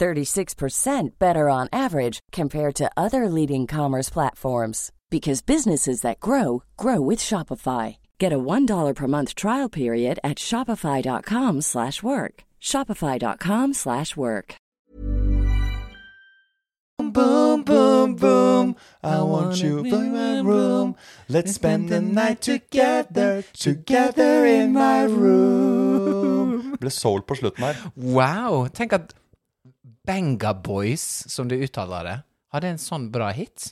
36% better on average compared to other leading commerce platforms because businesses that grow grow with Shopify. Get a $1 per month trial period at shopify.com/work. slash work. shopify.com/work. slash work. Boom, boom, boom. I want you in my room. Let's spend the night together, together in my room. Ble soul på slutten her. Wow! Tenk at Benga Boys, som du uttaler det, hadde en sånn bra hit.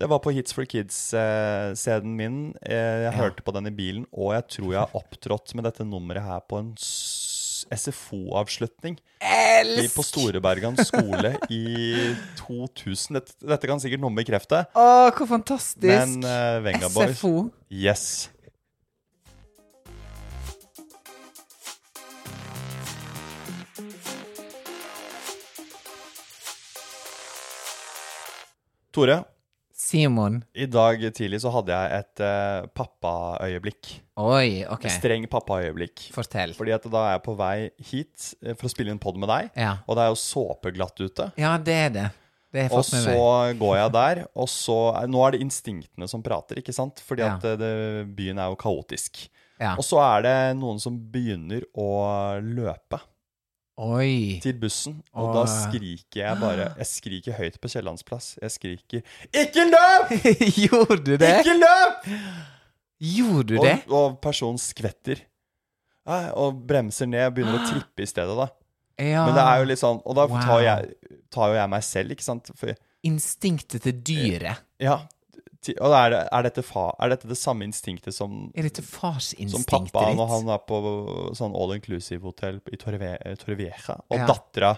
Det var på Hits for Kids-scenen min. Eh, Jeg hørte på den i bilen, og jeg tror jeg har opptrådt med dette nummeret her på en SFO-avslutning i- på Storebergan skole i 2000. Dette, dette kan sikkert noen bekrefte. Å, hvor fantastisk! Men eh, Venga Boys SFO. Yes. Tore, Simon. i dag tidlig så hadde jeg et eh, pappaøyeblikk. Oi, OK. Et streng pappaøyeblikk. Fortell. Fordi at da er jeg på vei hit eh, for å spille inn pod med deg, Ja. og det er jo såpeglatt ute. Ja, det er det. Det har jeg Og fått med så meg. går jeg der, og så Nå er det instinktene som prater, ikke sant? Fordi Ja. at eh, det, byen er jo kaotisk. Ja. Og så er det noen som begynner å løpe Oi. til bussen, og Åh. da skriker jeg bare Jeg skriker høyt på Kiellandsplass. Jeg skriker 'Ikke løp! Gjorde du det? Ikke løp!' Gjorde du Og, det? og personen skvetter. Nei, Og bremser ned, begynner å trippe i stedet, da. Ja. Men det er jo litt sånn Og da Ah. Wow. tar, jeg, tar jo jeg meg selv, ikke sant? For, Instinktet til dyret. ja. ti- Og er, det, er, dette fa, er dette det samme instinktet som Er dette Som farsinstinktet pappa når ditt? han er på sånn all inclusive-hotell i Torve, Torrevieja, og Ja. dattera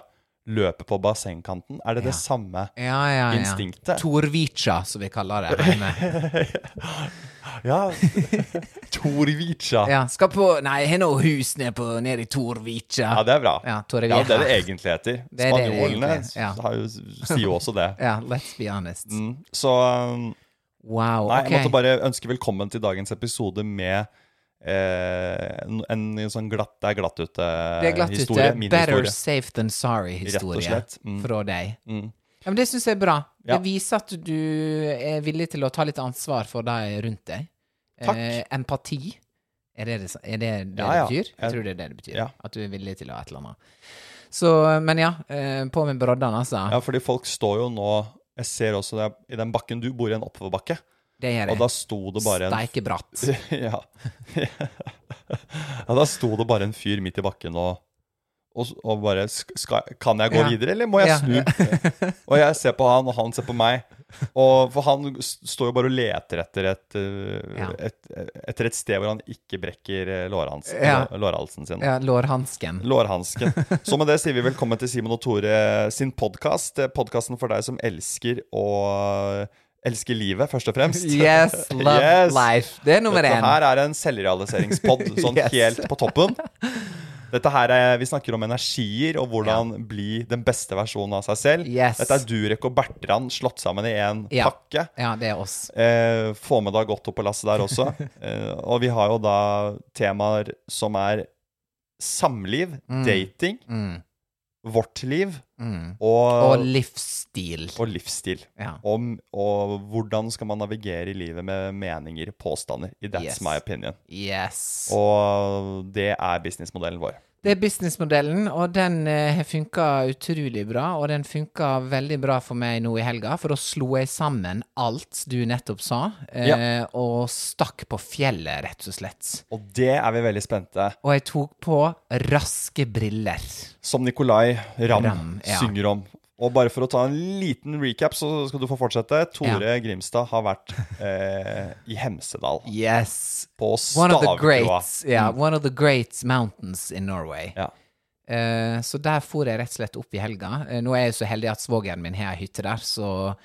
løper på bassengkanten. Er det Ja. det samme? Ja, ja, ja. Instinktet. Torvica, som vi kaller det hjemme. Ja. Torvitja. Ja. Ja, skal på Nei, jeg har nå hus nede på- nede i Torvica. det er bra. Ja, Ja, Torrevieja. det er det egentlig heter. Det er det det Spanjolene egentlig er, ja. har jo, sier jo også det. Ja, let's be honest. Mm. Så um, Wow. Nei, ok. jeg måtte bare ønske velkommen til dagens episode med eh, en, en sånn glatt Det er glatt Det er glatt ute-historie. ute. Better safe than Rett sorry-historie og slett. Mm. fra deg. Mm. Ja, men Det syns jeg er bra. Ja. Det viser at du er villig til å ta litt ansvar for de rundt deg. Eh, Takk. empati. Er det det, er det, det, Ja, ja. det betyr? Jeg Jeg- tror det er det det betyr. Ja. At du er villig til å ha et eller annet. Så, men ja, eh, på med broddene, altså. Ja, fordi folk står jo nå Jeg ser også det, i den bakken du bor i, en oppoverbakke. Det Og gjør jeg. da sto det bare en Steike bratt. ja. ja, da sto det bare en fyr midt i bakken og og, s- og bare sk- skal, Kan jeg gå Ja. videre, eller må jeg Ja. snu? og jeg ser på han, og han ser på meg. Og For han s- står jo bare og leter etter et, eh, Ja. et, etter et sted hvor han ikke brekker eh, lårhans, Ja. lå- lårhalsen sin. Ja, lårhansken. Lårhansken. Så med det sier vi velkommen til Simon og Tore sin podkast. Podkasten for deg som elsker å eh, elsker livet, først og fremst. Yes, love Yes. life. Det er nummer Dette én. her er en selvrealiseringspod, sånn Yes. helt på toppen. Dette her er, Vi snakker om energier og hvordan bli den beste versjonen av seg selv. Yes. Dette er Durek og Bertrand slått sammen i én Ja. pakke. Ja, det er oss. Eh, få med deg godt opp på lasset der også. Eh, og vi har jo da temaer som er samliv, dating, Mm. vårt liv Mm. og, Og livsstil. og livsstil. Ja. Om, og hvordan skal man navigere i livet med meninger, påstander. I that's Yes. my opinion. Yes. Og det er businessmodellen vår. Det er businessmodellen, og den eh, har funka utrolig bra. Og den funka veldig bra for meg nå i helga, for da slo jeg sammen alt du nettopp sa, eh, og stakk på fjellet, rett og slett. Og det er vi veldig spente. Og jeg tok på raske briller. Som Nikolai Ramm Ramm, ja. synger om. Og bare for å ta en liten recap, så skal du få fortsette. Tore Grimstad har vært eh, i Hemsedal. Yes. På One of the stavkroa. greats, yeah, one of the great mountains in Norway. Ja. Eh, så der for jeg rett og slett opp i helga. Eh, nå er jeg så heldig at svogeren min har ei hytte der, så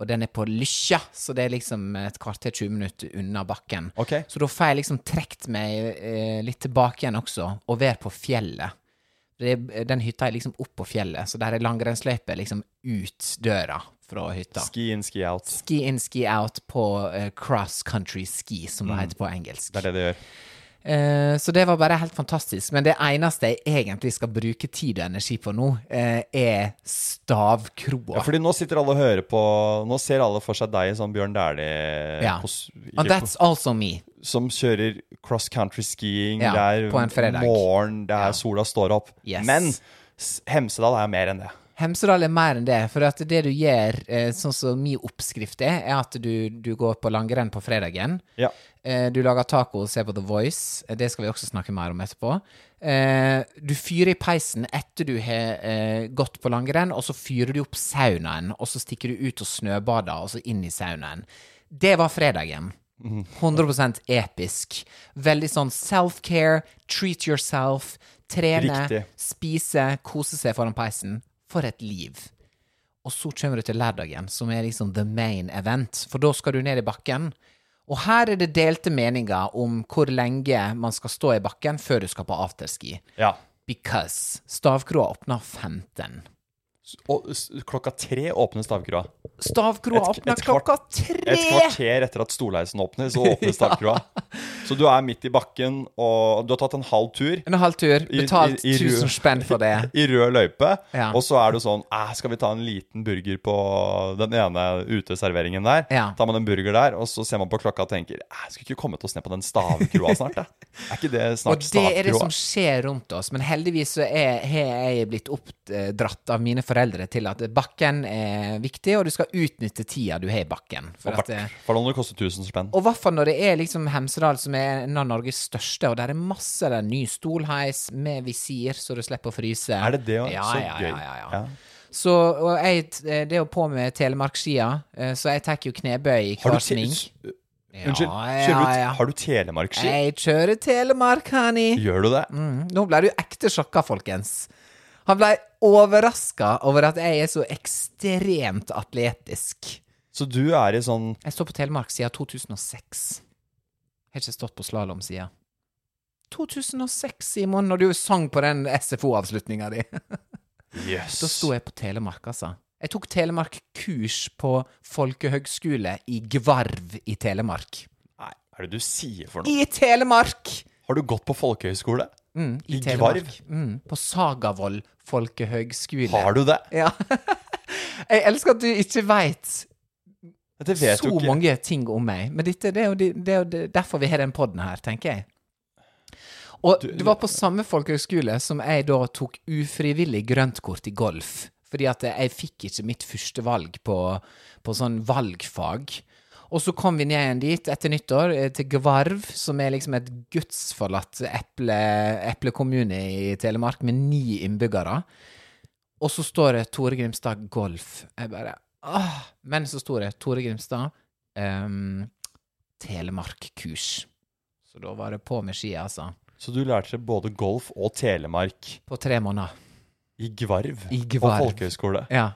Og den er på Lykkja, så det er liksom et kvarter 20 minutter unna bakken. Ok. Så da får jeg liksom trekt meg eh, litt tilbake igjen også, og være på fjellet. Det, den hytta er liksom opp på fjellet, så der er langrennsløype liksom ut døra fra hytta. Ski in, ski out. Ski in, ski out på eh, cross country ski, som det heter på engelsk. Mm. Det er det det gjør. Eh, så det var bare helt fantastisk. Men det eneste jeg egentlig skal bruke tid og energi på nå, eh, er stavkroa. Ja, fordi nå sitter alle og hører på Nå ser alle for seg deg i sånn Bjørn Dæhlie Ja. på s- ikke And that's also me. på- som kjører cross country skiing. Ja, det er på en fredag. morgen, det er sola står opp. Yes. Men s- Hemsedal er mer enn det. Hemsedal er mer enn det, for at det du gjør, eh, sånn som min oppskrift er, er at du, du går på langrenn på fredagen. Ja. Eh, Du lager taco og ser på The Voice. Eh, Det skal vi også snakke mer om etterpå. Eh, Du fyrer i peisen etter du har eh, gått på langrenn, og så fyrer du opp saunaen, og så stikker du ut og snøbader, og så inn i saunaen. Det var fredagen. 100 episk. Veldig sånn self-care, treat yourself, trene, Riktig. spise, kose seg foran peisen. For et liv. Og så kommer du til lørdagen, som er liksom the main event, for da skal du ned i bakken. Og her er det delte meninger om hvor lenge man skal stå i bakken før du skal på afterski. ja. Because stavkroa åpner 15. S- Og s- klokka tre åpner stavkroa. Stavkroa Et- et åpner kvart- klokka Et tre! kvarter etter at Storleisen åpner, så åpner stavkroa. Så du er midt i bakken, og du har tatt en halv tur En halv tur. I- i- Betalt i rød- 1000 spenn for det. i rød løype, Ja. og så er det sånn "Æ, Skal vi ta en liten burger på den ene uteserveringen der? Ja. Tar man en burger der, og så ser man på klokka og tenker "Æ, Skulle ikke kommet oss ned på den stavkroa snart, da? Er ikke det Og snart det er det stavkroa? som skjer rundt oss. Men heldigvis så er, har jeg blitt oppdratt eh, av mine foreldre til at bakken er viktig, og du skal utnytte tida du har i bakken. For Og at, hvert fall når det koster 1000 spenn. og i hvert fall når det er liksom Hemsedal, som er en av Norges største, og der er masse der, ny stolheis med visir, så du slipper å fryse. Er det det òg? Ja, Så ja, gøy. Ja, ja, ja. Ja. Så og jeg, eh, det er jo på med telemarkskia, eh, så jeg tar jo knebøy i Har hver du te sving. Ja, Unnskyld, kjører ja, du, ja. har du telemarkski? Jeg kjører Telemark, honey. Gjør du det? Mm, nå ble du ekte sjokka, folkens. Han ble overraska over at jeg er så ekstremt atletisk. Så du er i sånn Jeg står på Telemark siden 2006. Jeg har ikke stått på slalåm siden. 2006, Simon, når du sang på den SFO-avslutninga di. Jøss. Da sto jeg på Telemark, altså. Jeg tok Telemark-kurs på folkehøgskole i Gvarv i Telemark. Nei, hva er det du sier for noe? I Telemark! Har du gått på folkehøyskole? Mm, I Telemark. Gvarv? Mm, på Sagavoll folkehøgskole. Har du det? Ja. jeg elsker at du ikke veit Dette vet så jo ikke. mange ting om meg. Men dette, det er jo, de- det er jo de- derfor vi har den podden her, tenker jeg. Og Du- det var på samme folkehøgskole som jeg da tok ufrivillig grøntkort i golf. Fordi at jeg fikk ikke mitt første valg på, på sånn valgfag. Og så kom vi ned igjen dit etter nyttår, eh, til Gvarv, som er liksom et gudsforlatt eple, eplekommune i Telemark med ni innbyggere. Og så står det Tore Grimstad golf. Jeg bare Åh! Men så sto det Tore Grimstad ehm, Telemark-kurs. Så da var det på med ski, altså. Så du lærte deg både golf og telemark På tre måneder. i Gvarv, I på Gvarv. folkehøyskole. Ja.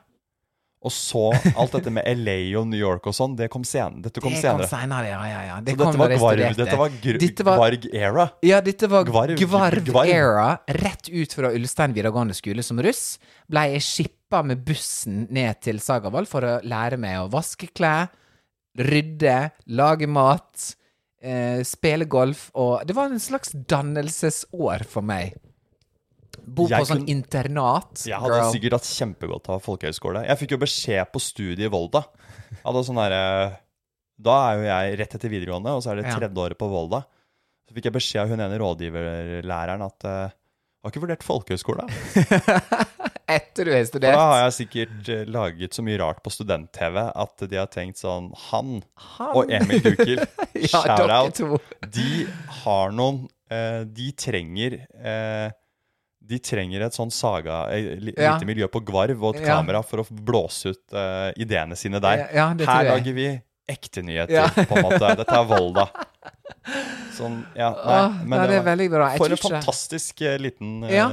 Og så alt dette med LA og New York og sånn, det kom sen, dette kom det senere. kom seinere, ja, ja, ja. Det Så dette kom når var jeg Gvarv, studerte. dette var, gr Dette var- Gvarg-era. Ja, dette var Gvarv- Gvarv, Gvarv. Era, rett ut fra Ulstein videregående skole som russ. Blei jeg skippa med bussen ned til Sagavoll for å lære meg å vaske klær, rydde, lage mat, eh, spille golf og Det var en slags dannelsesår for meg. Bo Jeg på sånn kunne- internat, Jeg hadde girl. sikkert hatt kjempegodt av folkehøyskole. Jeg fikk jo beskjed på studiet i Volda. Jeg hadde sånn derre Da er jo jeg rett etter videregående, og så er det Ja. tredje året på Volda. Så fikk jeg beskjed av hun ene rådgiverlæreren at eh, har ikke vurdert folkehøyskole. Etter du har For da har studert. jeg sikkert eh, laget så mye rart på student-TV at de har tenkt sånn Han Han- og Emil Duker, Ja, dere shout-out. to. De har noen eh, De trenger eh, De trenger et sånn saga eh, li- Lite Ja. miljø på Gvarv og et Ja. kamera for å blåse ut eh, ideene sine der. Ja, ja, det tror Her jeg. lager vi ekte nyheter, Ja. på en måte. Dette er Volda. Sånn, ja, nei, Åh, men nei, det er veldig bra. Jeg For tror en ikke det. fantastisk eh, liten eh, Ja,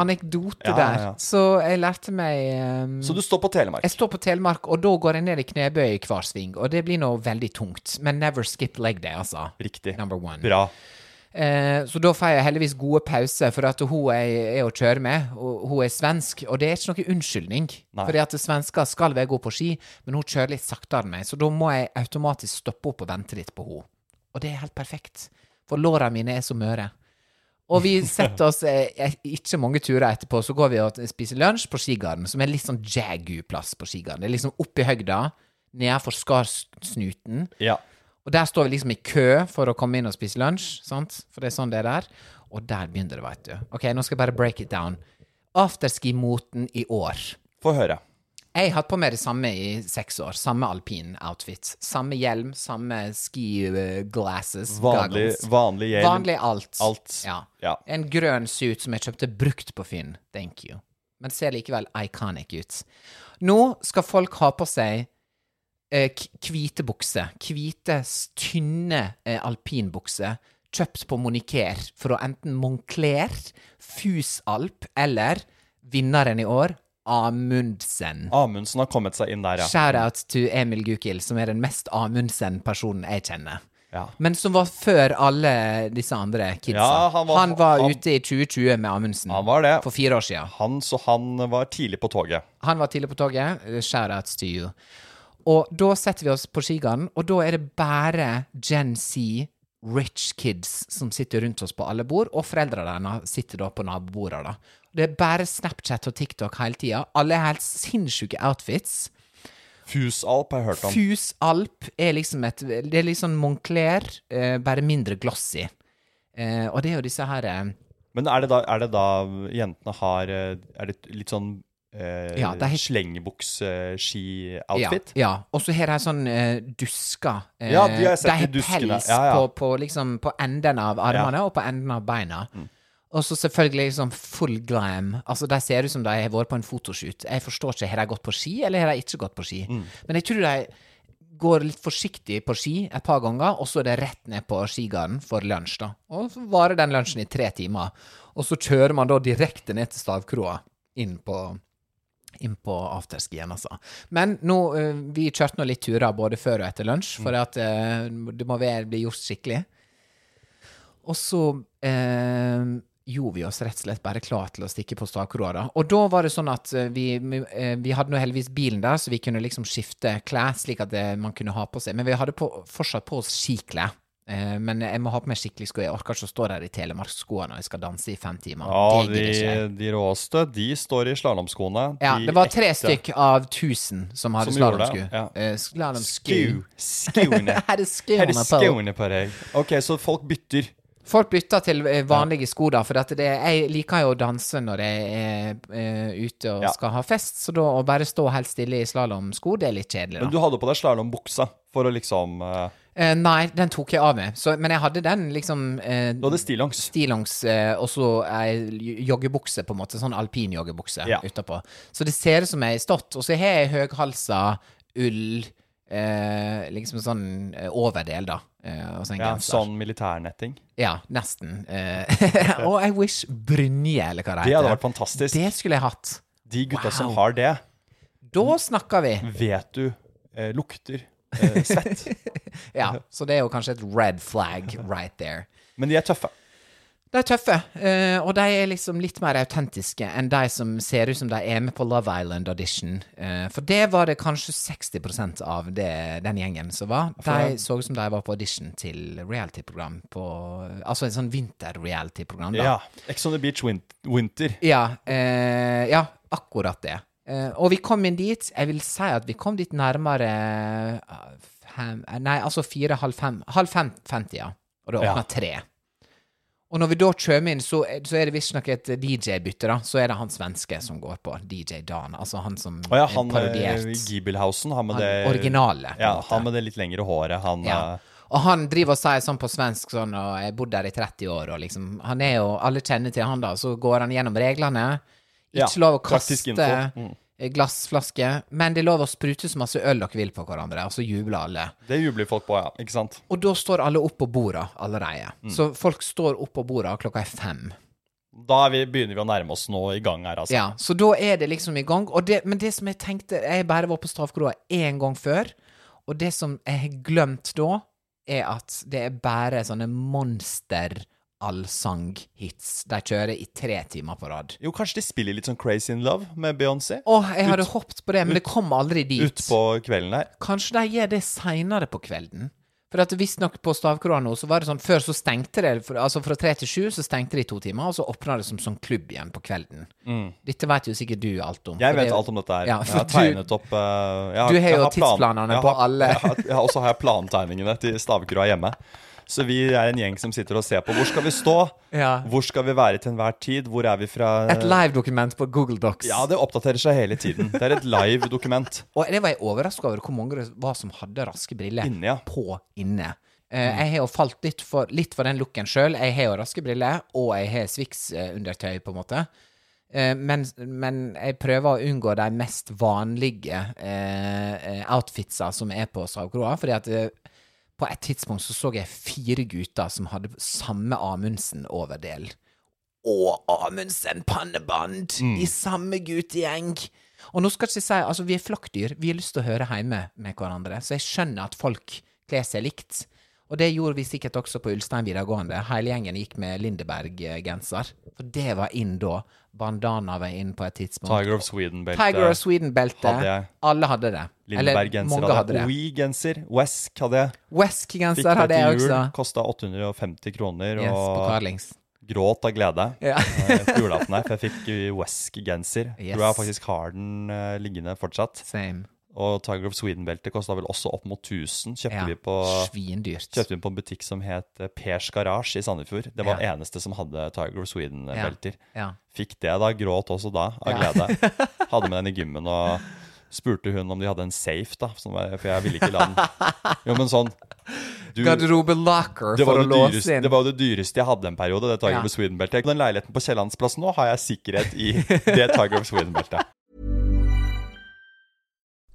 anekdote ja, ja, der. ja. Så jeg lærte meg ehm, Så du står på Telemark. Jeg står på Telemark, og da går jeg ned i knebøy i hver sving. Og det blir nå veldig tungt. Men never skip leg day, altså. Riktig. Number one. Bra. Eh, så da får jeg heldigvis gode pauser, for at hun jeg er å kjøre med, og hun er svensk. Og det er ikke noen unnskyldning, Nei. Fordi at svensker skal være gode på ski, men hun kjører litt saktere enn meg. Så da må jeg automatisk stoppe opp og vente litt på henne. Og det er helt perfekt, for låra mine er så møre. Og vi setter oss eh, eh, ikke mange turer etterpå, så går vi og spiser lunsj på Skigarden, som er litt sånn jagu-plass på Skigarden. Det er liksom oppi høgda, nedenfor Skarsnuten. Ja. Og der står vi liksom i kø for å komme inn og spise lunsj, sant? For det er sånn det er der. Og der begynner det, veit du. Ok, nå skal jeg bare break it down. Afterski-moten i år. Få høre. Jeg har hatt på meg det samme i seks år. Samme alpin outfit. Samme hjelm, samme ski eh, glasses. Vanlig, goggles. vanlig hjelm. Vanlig alt. Alt. Ja. Ja. En grønn suit som jeg kjøpte brukt på Finn. Thank you. Men ser likevel iconic ut. Nå skal folk ha på seg eh, k- hvite bukser. Hvite, s- tynne eh, alpinbukser. Kjøpt på Moniker fra enten Moncler, Fusalp eller vinneren i år, Amundsen. Amundsen har kommet seg inn der, ja. Shout-out to Emil Gukild, som er den mest Amundsen-personen jeg kjenner. Ja. Men som var før alle disse andre kidsa. Ja, han han var- var, han- ute i 2020 med Amundsen. Han var det. For fire år siden. Han, så han var tidlig på toget. Han var tidlig på toget. Shout-outs to you. Og da setter vi oss på skigarden, og da er det bare Gen Z, rich kids, som sitter rundt oss på alle bord, og foreldrene deres sitter da på nabobordene. da. Det er bare Snapchat og TikTok hele tida. Alle har helt sinnssyke outfits. Fusalp har jeg hørt om. Fusalp er liksom et Det er liksom Moncler, eh, bare mindre glossy. Eh, og det er jo disse her eh, Men er det da, er det da jentene har eh, Er det litt sånn eh, Ja, det er helt- slengbuks-ski-outfit? Ja, ja. Og så har de sånn eh, dusker. eh, Ja, de har jeg sett, de De har duskene. pels Ja, ja. På, på, liksom, på enden av armene og på enden av beina. Mm. Og så selvfølgelig liksom full glam. Altså, De ser ut som de har vært på en fotoshoot. Jeg forstår ikke, Har de gått på ski, eller har de ikke gått på ski? Mm. Men jeg tror de går litt forsiktig på ski et par ganger, og så er det rett ned på skigarden for lunsj. da. Og så varer den lunsjen i tre timer. Og så kjører man da direkte ned til stavkroa, inn på inn på afterskien, altså. Men nå, eh, vi kjørte nå litt turer både før og etter lunsj, for at eh, det må være, bli gjort skikkelig. Og så eh, gjorde vi oss rett og slett bare klar til å stikke på stakroa. da. Og da var det sånn at eh, vi, vi, eh, vi hadde nå heldigvis bilen der, så vi kunne liksom skifte klær slik at eh, man kunne ha på seg. Men vi hadde på, fortsatt på oss skiklær. Eh, Men jeg må ha på meg skikkelig sko. Jeg orker ikke å stå der i telemarksskoene når jeg skal danse i fem timer. Ja, det gidder ikke jeg. de, de råeste, de står i slalåmskoene. Ja, De det var tre ekte stykk av tusen som hadde Som gjorde det, slalåmsku. ja. Eh, Slalåmsku. Sku. Skoene. Hadde Her skoene er på. skoene på deg. Ok, så folk bytter. Folk bytta til eh, vanlige sko, da, for at det, jeg liker jo å danse når jeg er eh, ute og Ja. skal ha fest, så da å bare stå helt stille i slalåmsko, det er litt kjedelig, Men da. du hadde på deg slalåmbuksa for å liksom eh, Eh, nei, den tok jeg av meg, så, men jeg hadde den liksom eh, Du hadde stillongs. Stillongs eh, og så ei joggebukse, på en måte. Sånn alpin joggebukse Ja. utapå. Så det ser ut som jeg har stått. Og så har jeg høghalsa ull eh, Liksom sånn eh, overdel, da. Eh, og så en Ja, genser. sånn militærnetting. Ja, nesten. Eh, og I wish brynje, eller hva det Det heter. hadde vært fantastisk. Det skulle jeg hatt. De gutta Wow. som har det, Da Mm. snakker vi. vet du eh, lukter eh, svett. Ja, så det er jo kanskje et red flag right there. Men de er tøffe. De er tøffe, eh, og de er liksom litt mer autentiske enn de som ser ut som de er med på Love Island audition. Eh, for det var det kanskje 60 av det, den gjengen som var. De så ut som de var på audition til reality-program på Altså en sånn vinter-reality-program, da. Ja. Ex on the beach win winter. Ja, eh, ja akkurat det. Eh, og vi kom inn dit. Jeg vil si at vi kom dit nærmere eh, fem, eh, Nei, altså fire, halv fem. Halv fem, femti, ja. Og det Ja. åpna tre. Og når vi da kommer inn, så, så er det visstnok et DJ-bytte, da. Så er det han svenske som går på. DJ Dan. Altså han som Å ja, er han eh, parodiert. Giebelhausen, han med Han det originale, på en Ja, måte. han med det litt lengre håret. Han Ja. eh, Og han driver og sier sånn på svensk sånn, og jeg har bodd der i 30 år, og liksom Han er jo Alle kjenner til han, da. Så går han gjennom reglene. Ja, Ikke lov å kaste praktisk info. Mm. glassflasker. Men det er lov å sprute så masse øl dere vil på hverandre, og så jubler alle. Det jubler folk på, ja. Ikke sant? Og da står alle opp på borda allerede. Mm. Så folk står opp på borda klokka er fem. Da er vi, begynner vi å nærme oss nå i gang her, altså. Ja, Så da er det liksom i gang. Og det, men det som jeg tenkte Jeg bare var på stavkroa én gang før, og det som jeg har glemt da, er at det er bare sånne monsterallsanghits de kjører i tre timer på rad. Jo, kanskje de spiller litt sånn Crazy in Love med Beyoncé Åh, jeg hadde hoppet på det, men det kom aldri dit. utpå kvelden her. Kanskje de gjør det seinere på kvelden. For at Visstnok på Stavkroa nå, så var det sånn Før så stengte det for, Altså fra tre til sju, så stengte de i to timer, og så åpna det som sånn klubb igjen på kvelden. Dette vet jo sikkert du alt om. Mm. Jeg for vet det- alt om dette her. Ja, jeg har for du- tegnet opp eh, jeg du har jeg jo plan- tidsplanene jeg på har- alle. jeg har- jeg har- Og så har jeg plantegningene til Stavkroa hjemme. Så vi er en gjeng som sitter og ser på hvor skal vi stå, Ja. hvor skal vi være til enhver tid, hvor er vi fra Et live-dokument på Google Docs. Eh, Ja, det oppdaterer seg hele tiden. Det er et live dokument. Og det var jeg overraska over hvor mange det var som hadde raske briller Inne, ja. Mm. på inne. Eh, Jeg har jo falt litt for, litt for den looken sjøl. Jeg har jo raske briller, og jeg har Swix-undertøy, på en måte. Eh, Men, men jeg prøver å unngå de mest vanlige eh, eh, outfitsa som er på Stavkroa, fordi at eh, på et tidspunkt så så jeg fire gutter som hadde samme Amundsen-overdel og Amundsen panneband Mm. i samme guttegjeng. Og nå skal jeg ikke si, altså vi er flokkdyr, vi har lyst til å høre hjemme med hverandre, så jeg skjønner at folk kler seg likt. Og det gjorde vi sikkert også på Ulstein videregående. Hele gjengen gikk med Lindeberg-genser, for det var inn da. Bandana var inn på et tidspunkt. Tiger of Sweden-belte. Tiger of eh, hadde Sweden-belte. jeg. Alle hadde det. Eller Lindeberg-genser mange hadde hadde det. jeg. We-genser. Wesk hadde jeg. Fikk Wesk-genser det hadde jeg til jul. også. Kosta 850 kroner. Yes, på og Carlings. gråt av glede. Ja. eh, på julaften her, for jeg fikk eh, Wesk-genser. Yes. Tror jeg faktisk har den eh, liggende fortsatt. Same. Og Tiger of Sweden-beltet kosta vel også opp mot 1000. Kjøpte Ja. vi på Svindyrt. Kjøpte vi på en butikk som het eh, Pers Garage i Sandefjord. Det var Ja. eneste som hadde Tiger of Sweden-belter. Ja. Fikk det da, gråt også da, av glede. Hadde med den i gymmen og spurte hun om de hadde en safe, da. Som var, for jeg ville ikke la den Jo, men sånn du, Garderobe-locker det var, for å det, låse dyreste, inn. det var jo det dyreste jeg hadde en periode, det Tiger Ja. of Sweden-beltet. Den leiligheten på Kiellandsplassen nå har jeg sikkerhet i det Tiger of Sweden-beltet.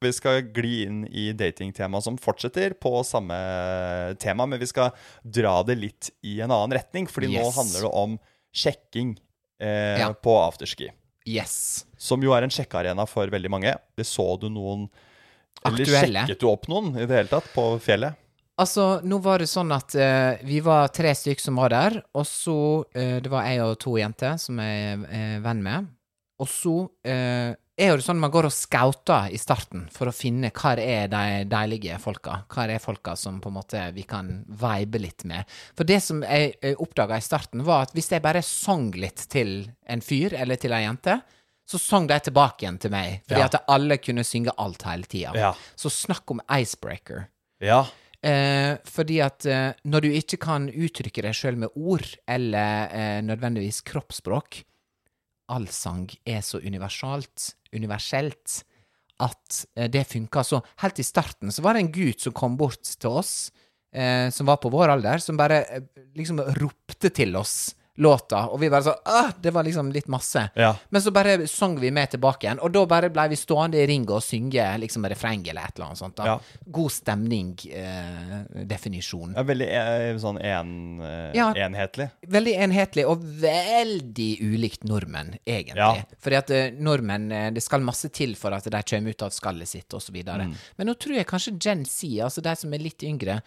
Vi skal gli inn i datingtema som fortsetter på samme tema, men vi skal dra det litt i en annen retning, fordi nå Yes. handler det om sjekking eh, Ja. på afterski. Yes. Som jo er en sjekkearena for veldig mange. Det så du noen Eller Aktuelle. sjekket du opp noen i det hele tatt på fjellet? Altså, nå var det sånn at eh, vi var tre stykker som var der, og så eh, Det var jeg og to jenter som jeg er venn med. Og så eh, er jo det sånn man går og scouter i starten for å finne hva det er de deilige folka. Hva det er folka som på en måte vi kan vibe litt med. For det som jeg eh, oppdaga i starten, var at hvis jeg bare sang litt til en fyr eller til ei jente, så sang de tilbake igjen til meg. Fordi Ja. at alle kunne synge alt hele tida. Ja. Så snakk om icebreaker. Ja. Eh, fordi at eh, når du ikke kan uttrykke deg sjøl med ord, eller eh, nødvendigvis kroppsspråk Allsang er så universalt, universelt, at eh, det funka. Så helt i starten så var det en gutt som kom bort til oss, eh, som var på vår alder, som bare eh, liksom ropte til oss låta, og vi bare sånn Åh, det var liksom litt masse. Ja. Men så bare sang vi med tilbake igjen, og da bare blei vi stående i ring og synge liksom refrenget eller et eller annet sånt. da Ja. God eh, stemning-definisjon. Det er veldig eh, sånn en, eh, Ja. enhetlig. Veldig enhetlig, og veldig ulikt nordmenn, egentlig. Ja. Fordi at eh, nordmenn eh, Det skal masse til for at de kommer ut av skallet sitt, osv. videre Men nå tror jeg kanskje Gen Z, altså de som er litt yngre,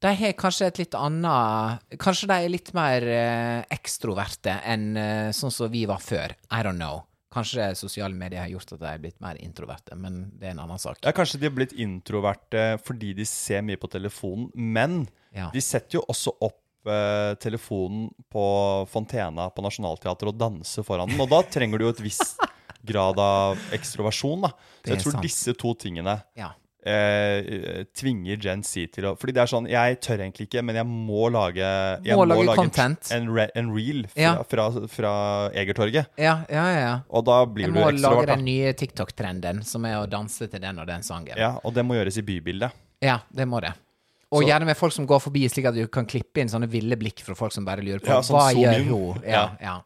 de har kanskje et litt annet Kanskje de er litt mer eh, ekstroverte enn eh, sånn som vi var før. I don't know. Kanskje sosiale medier har gjort at de er blitt mer introverte, men det er en annen sak. Ja, Kanskje de har blitt introverte fordi de ser mye på telefonen, men Ja. de setter jo også opp eh, telefonen på Fontena på Nationaltheatret og danser foran den, og da trenger du jo et visst grad av ekstroversjon, da. Så er jeg tror sant. disse to tingene Ja. eh, tvinger Gen Z til å Fordi det er sånn Jeg tør egentlig ikke, men jeg må lage Jeg Må lage en- content. En, re, en reel fra, Ja. fra, fra Egertorget. Ja, ja, ja, ja. Og da blir Jeg du må lage ekstrovert. den da. nye TikTok-trenden, som er å danse til den og den sangen. Ja, og det må gjøres i bybildet. Ja, det må det. Og gjerne med folk som går forbi, slik at du kan klippe inn sånne ville blikk fra folk som bare lurer på Ja, sånn hva zoom gjør inn. hun? Ja, Ja. ja.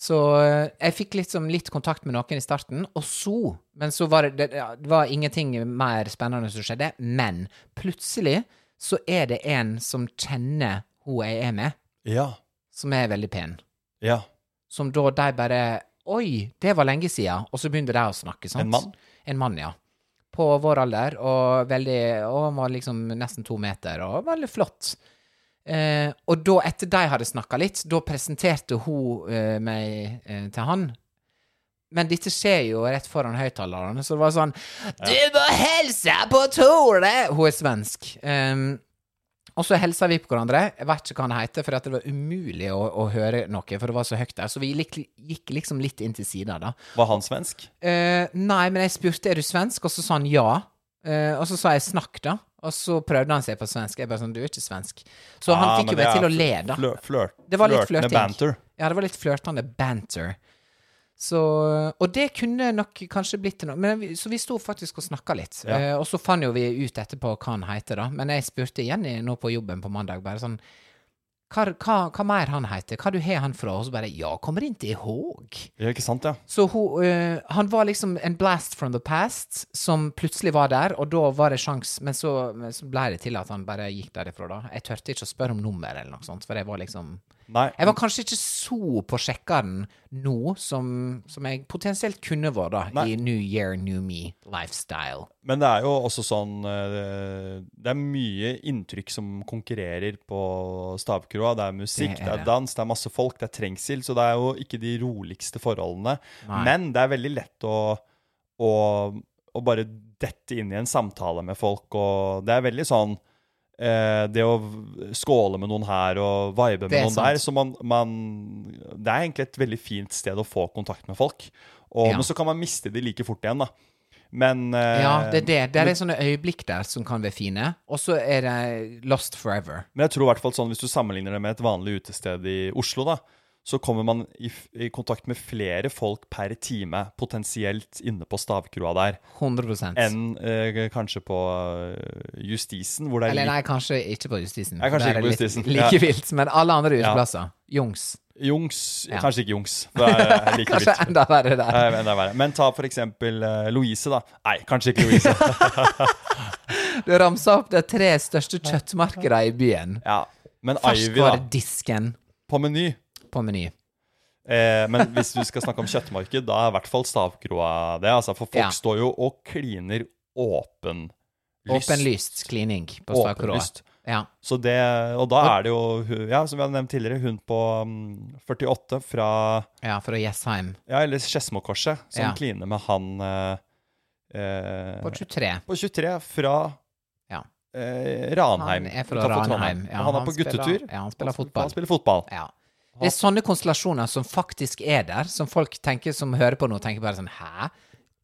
Så eh, jeg fikk liksom litt kontakt med noen i starten, og så Men så var det, det, ja, det var ingenting mer spennende som skjedde. Men plutselig så er det en som kjenner hun jeg er med, Ja. som er veldig pen. Ja. Som da de bare Oi, det var lenge siden. Og så begynte de å snakke, sant. En mann? En mann, ja. På vår alder, og veldig Og han var liksom nesten to meter, og veldig flott. Eh, og da, etter de hadde snakka litt, da presenterte hun eh, meg eh, til han. Men dette skjer jo rett foran høyttalerne, så det var sånn Du må hilse på Tore! Hun er svensk. Ehm, og så helsa vi på hverandre. Jeg vet ikke hva han heter, for at det var umulig å, å høre noe, for det var så høyt der. Så vi gikk, gikk liksom litt inn til sida, da. Var han svensk? Eh, nei, men jeg spurte er du svensk, og så sa han ja. Eh, og så sa jeg snakk, da. Og så prøvde han seg på svensk. Jeg bare sånn, du er ikke svensk. Så han Ah, fikk men jo meg det til er å le, da. Flør, flørt, Det var litt flørtende flørting. banter. Ja, det var litt flørtende banter. Så, og det kunne nok kanskje blitt til noe. Men vi, så vi sto faktisk og snakka litt. Ja. Eh, og så fant jo vi ut etterpå hva han heter, da. Men jeg spurte Jenny nå på jobben på mandag, bare sånn hva, hva, hva mer han heter? Hva du har han fra? Og så bare Ja, kommer ikke ihåg. Ja, ikke sant, ja? Så hun, eh, han var liksom en blast from the past som plutselig var der, og da var det sjans, men så, men så ble det til at han bare gikk derifra da. Jeg tørte ikke å spørre om nummer eller noe sånt, for jeg var liksom Nei. Jeg var kanskje ikke så på sjekkeren nå som, som jeg potensielt kunne vært, da, Nei. i New Year, New Me lifestyle. Men det er jo også sånn eh, Det er mye inntrykk som konkurrerer på stavkroa. Det er musikk, Det det er er, det. dans, det er masse folk, det er trengsel. Så det er jo ikke de roligste forholdene. Nei. Men det er veldig lett å, å, å bare dette inn i en samtale med folk, og det er veldig sånn eh, det å v- skåle med noen her og vibe med Det er noen der. Så man, man Det er egentlig et veldig fint sted å få kontakt med folk. Og, Ja. Men så kan man miste de like fort igjen, da. Men eh, Ja, det er det. Det er sånne øyeblikk der som kan være fine, og så er det lost forever. Men jeg tror i hvert fall sånn, hvis du sammenligner det med et vanlig utested i Oslo, da, så kommer man i, f- i kontakt med flere folk per time, potensielt inne på stavkroa der, 100 enn eh, kanskje på eh, Justisen, hvor det er Eller litt nei, kanskje ikke på Justisen. Nei, for kanskje der er ikke på det Justisen, Litt, ja. like vilt, men alle andre uteplasser. Jungs. Jungs Ja. Kanskje ikke Jungs, for det er eh, like Kanskje vidt. enda verre der. Eh, men det er verre. Men ta for eksempel eh, Louise, da. Nei, kanskje ikke Louise. Du ramsa opp de tre største kjøttmarkedene i byen. ja. Men Ivy, da. Ferskvaredisken På Meny. på Meny. Eh, men hvis du skal snakke om kjøttmarked, da er i hvert fall stavkroa det. Altså, for folk Ja. står jo og kliner åpen lyst. Åpenlyst klining på Stakroa. Åpenlyst. Ja. Så det, og da er det jo, hun- ja, som vi hadde nevnt tidligere, hun på mm, 48 fra ja, fra Jessheim. ja, eller Skedsmokorset, som Ja. kliner med han eh, eh, På 23. på 23 fra Ja. eh, Ranheim. Han er fra utenfor Trondheim. Ranheim. Og han er på spiller- guttetur. Ja, han spiller Han fotball. spiller fotball. Ja. Det er sånne konstellasjoner som faktisk er der, som folk tenker, som hører på nå, tenker bare sånn Hæ?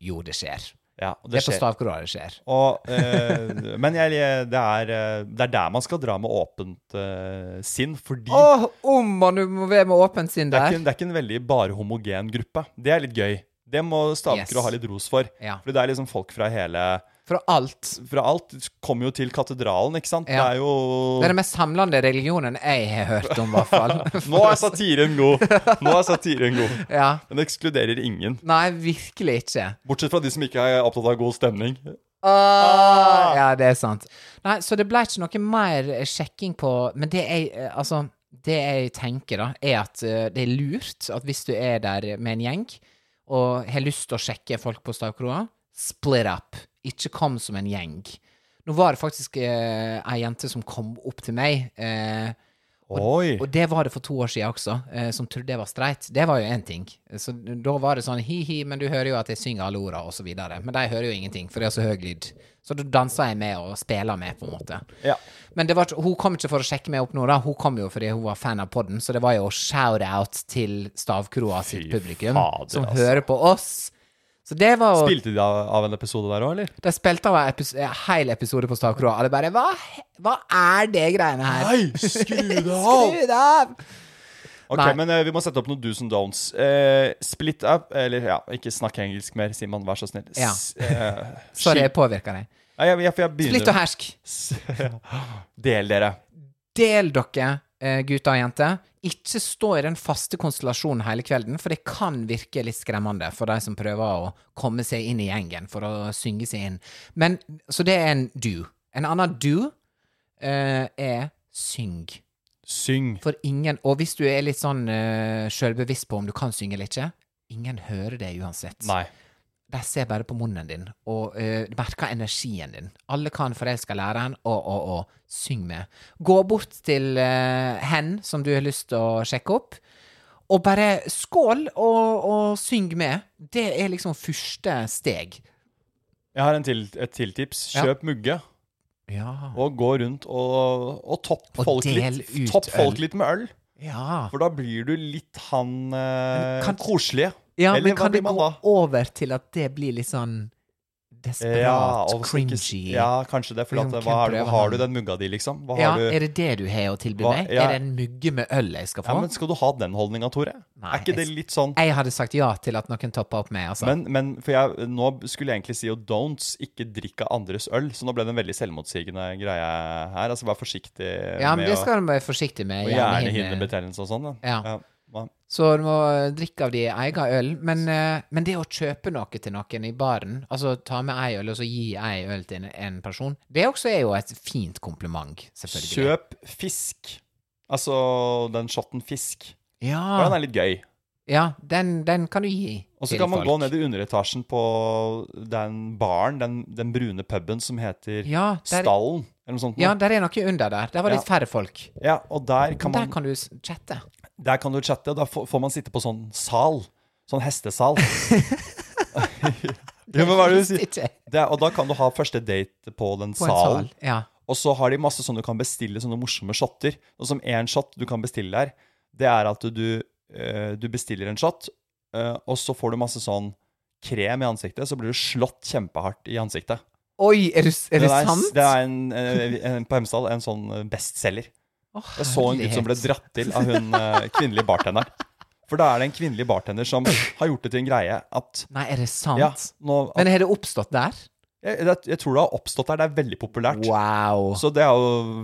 Jo, det skjer. Ja, og det Det er på skjer. Stavkroa det skjer. Og, eh, men jeg, det, er, eh, det er der man skal dra med åpent eh, sinn, fordi Åh, om man må være med åpent sinn det, er der. ikke, det er ikke en veldig bare homogen gruppe. Det er litt gøy. Det må Stavkroa Yes. ha litt ros for. Ja. Fordi det er liksom folk fra hele Fra alt. Fra alt kommer jo til katedralen, ikke sant? Ja. Det er jo Det er den mest samlende religionen jeg har hørt om, i hvert fall. Nå er satiren god! Nå er satiren god. ja. Den ekskluderer ingen. Nei, virkelig ikke. Bortsett fra de som ikke er opptatt av god stemning. Ah! Ja, det er sant. Nei, så det ble ikke noe mer eh, sjekking på Men det jeg, eh, altså, det jeg tenker, da, er at eh, det er lurt at hvis du er der med en gjeng og har lyst til å sjekke folk på stavkroa, split up. Ikke kom som en gjeng. Nå var det faktisk eh, ei jente som kom opp til meg. Eh, Oi! og det var det for to år siden også, eh, som trodde jeg var streit. Det var jo én ting. Så da var det sånn hi-hi, men du hører jo at jeg synger alle orda, og så videre. Men de hører jo ingenting, for det er så høy lyd. Så da danser jeg med og spiller med, på en måte. Ja. Men det var, ikke- hun kom ikke for å sjekke meg opp nå, da. Hun kom jo fordi hun var fan av podden, så det var jo shout-out til Stavkroa sitt publikum, fader, som altså. hører på oss. Så det var jo Spilte de av, av en episode der òg, eller? De spilte av en epis en hel episode på Stavkroa, og det bare hva, hva er det greiene her? skru Skru det av! Ok, Nei. men eh, vi må sette opp noen do's and don'ts. Eh, split up, eller ja, ikke snakk engelsk mer, Simon, vær så snill. Ja. S- eh, Sorry, skil- jeg påvirker deg. Nei, jeg, jeg, jeg begynner. Splitt og hersk. Del dere. Del dere, eh, gutter og jenter. Ikke stå i den faste konstellasjonen hele kvelden, for det kan virke litt skremmende for de som prøver å komme seg inn i gjengen for å synge seg inn. Men, så det er en do. En annen do eh, er syng. Syng. For ingen Og hvis du er litt sånn eh, sjølbevisst på om du kan synge eller ikke, ingen hører det uansett. Nei. De ser bare på munnen din og eh, merker energien din. Alle kan forelske læreren og, og, og syng med. Gå bort til eh, hen som du har lyst til å sjekke opp, og bare skål og, og syng med. Det er liksom første steg. Jeg har en til, et til tips. Ja. Kjøp mugge, Ja. og gå rundt og, og topp Og folk del litt. ut Topp øl. folk litt med øl. ja. For da blir du litt han eh, Men kan- koselige. ja Eller men hva kan blir det man gå da? over til at det blir litt sånn desperat, og så ikke- cringy? ja, kanskje det. For Liksom, at, hvem hva har du, prøver har han? du den mugga di, liksom? Hva Ja, har du? er det det du har å tilby Hva- meg? ja. Er det en mugge med øl jeg skal få? Ja, men skal du ha den holdninga, Tore? Nei, er ikke det jeg- litt sånn Jeg hadde sagt ja til at noen toppa opp med, altså. Men, men for jeg, nå skulle jeg egentlig si jo don'ts, ikke drikk av andres øl. Så nå ble det en veldig selvmotsigende greie her. Altså vær forsiktig ja, men med det skal du være forsiktig med. å Gjerne hinne. hjernehinnebetennelse og sånn. da. Ja. hva- Så du må eh, drikke av din egen øl. Men, eh, men det å kjøpe noe til noen i baren, altså ta med ei øl og så gi ei øl til en, en person, det også er jo et fint kompliment, selvfølgelig. Kjøp fisk. Altså den shotten fisk. Og den Ja, er litt gøy. ja den, den kan du gi Og så Ah. til kan man folk. gå ned i underetasjen på den baren, den, den brune puben som heter ja, der, Stallen, eller noe sånt. ja, noe. der er noe under der. Der var litt færre folk. ja og der kan, Men man, der kan du s- chatte. der kan du chatte, og da får får man sitte på sånn sal. Sånn hestesal. ja, men hva er det du sier? Ikke Det er, og da kan du ha første date på den På en salen. sal. Ja. Og så har de masse sånne du kan bestille sånne morsomme shotter. Og som én shot du kan bestille der, det er at du, eh, du bestiller en shot, eh, og så får du masse sånn krem i ansiktet, så blir du slått kjempehardt i ansiktet. Oi, er, du, s- er det, er, sant? Det er en, eh, en, på Hemsedal en sånn eh, bestselger. Å, Jeg så en gutt som ble herlighet. dratt til av hun eh, kvinnelige bartenderen. For da er det en kvinnelig bartender som har gjort det til en greie at Nei, er det sant? ja, nå, Men har det oppstått der? jeg, jeg tror det har oppstått der. Det er veldig populært. Wow. Så det er jo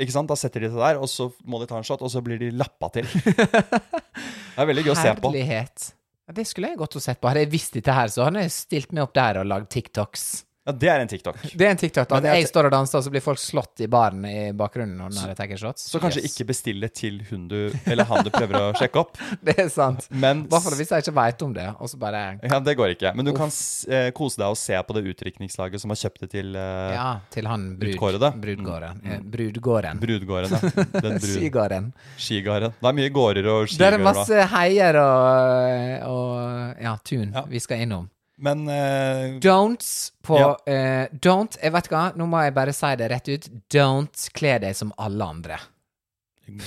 Ikke sant? Da setter de seg der, og så må de ta en shot, og så blir de lappa til. Det er veldig gøy å se på. Herlighet. Ja, det skulle jeg godt og sett på. Hadde jeg visst dette her, så hadde jeg stilt meg opp der og lagd TikToks. Ja, det er en TikTok. Det er en TikTok. da. Men jeg jeg står og danser, og så blir folk slått i baren i bakgrunnen når jeg tar shots. Så kanskje Yes. ikke bestille til hun du Eller han du prøver å sjekke opp, Det er sant. men I hvert fall hvis jeg ikke veit om det, og så bare ja, det går ikke. Men du kan s- eh, kose deg og se på det utdrikningslaget som har kjøpt det til eh, Ja, til han brud, Utkårede. brudgården. Eh, brudgården. brudgården. Ja. Den Mm. brud, Skigården. skigården. Det er mye gårder og Det skigårder. da. er masse heier og, eh, og ja, tun vi skal innom. Men eh, Don'ts på Ja. eh, Don't Jeg vet hva, nå må jeg bare si det rett ut. Don't kle deg som alle andre.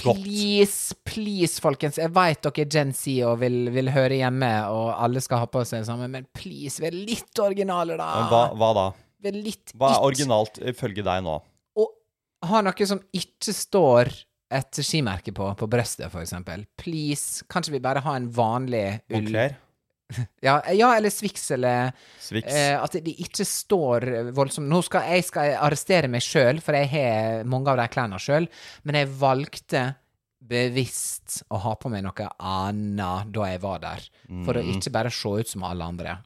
godt. Please, please, folkens. Jeg vet dere er Gen Z og vil, vil høre hjemme, og alle skal ha på seg det samme, men please, vær litt originale, da. Men Hva, hva da? Vær litt Hva er it. originalt ifølge deg nå? Og ha noe som ikke står et skimerke på, på brøstet, for eksempel. Please. Kanskje vi bare har en vanlig ull Moncler? Ja, ja eller Swix eller Swix. eh, At de ikke står voldsomt Nå skal jeg skal arrestere meg sjøl, for jeg har mange av de klærne sjøl, men jeg valgte bevisst å ha på meg noe annet da jeg var der, for å ikke bare se ut som alle andre.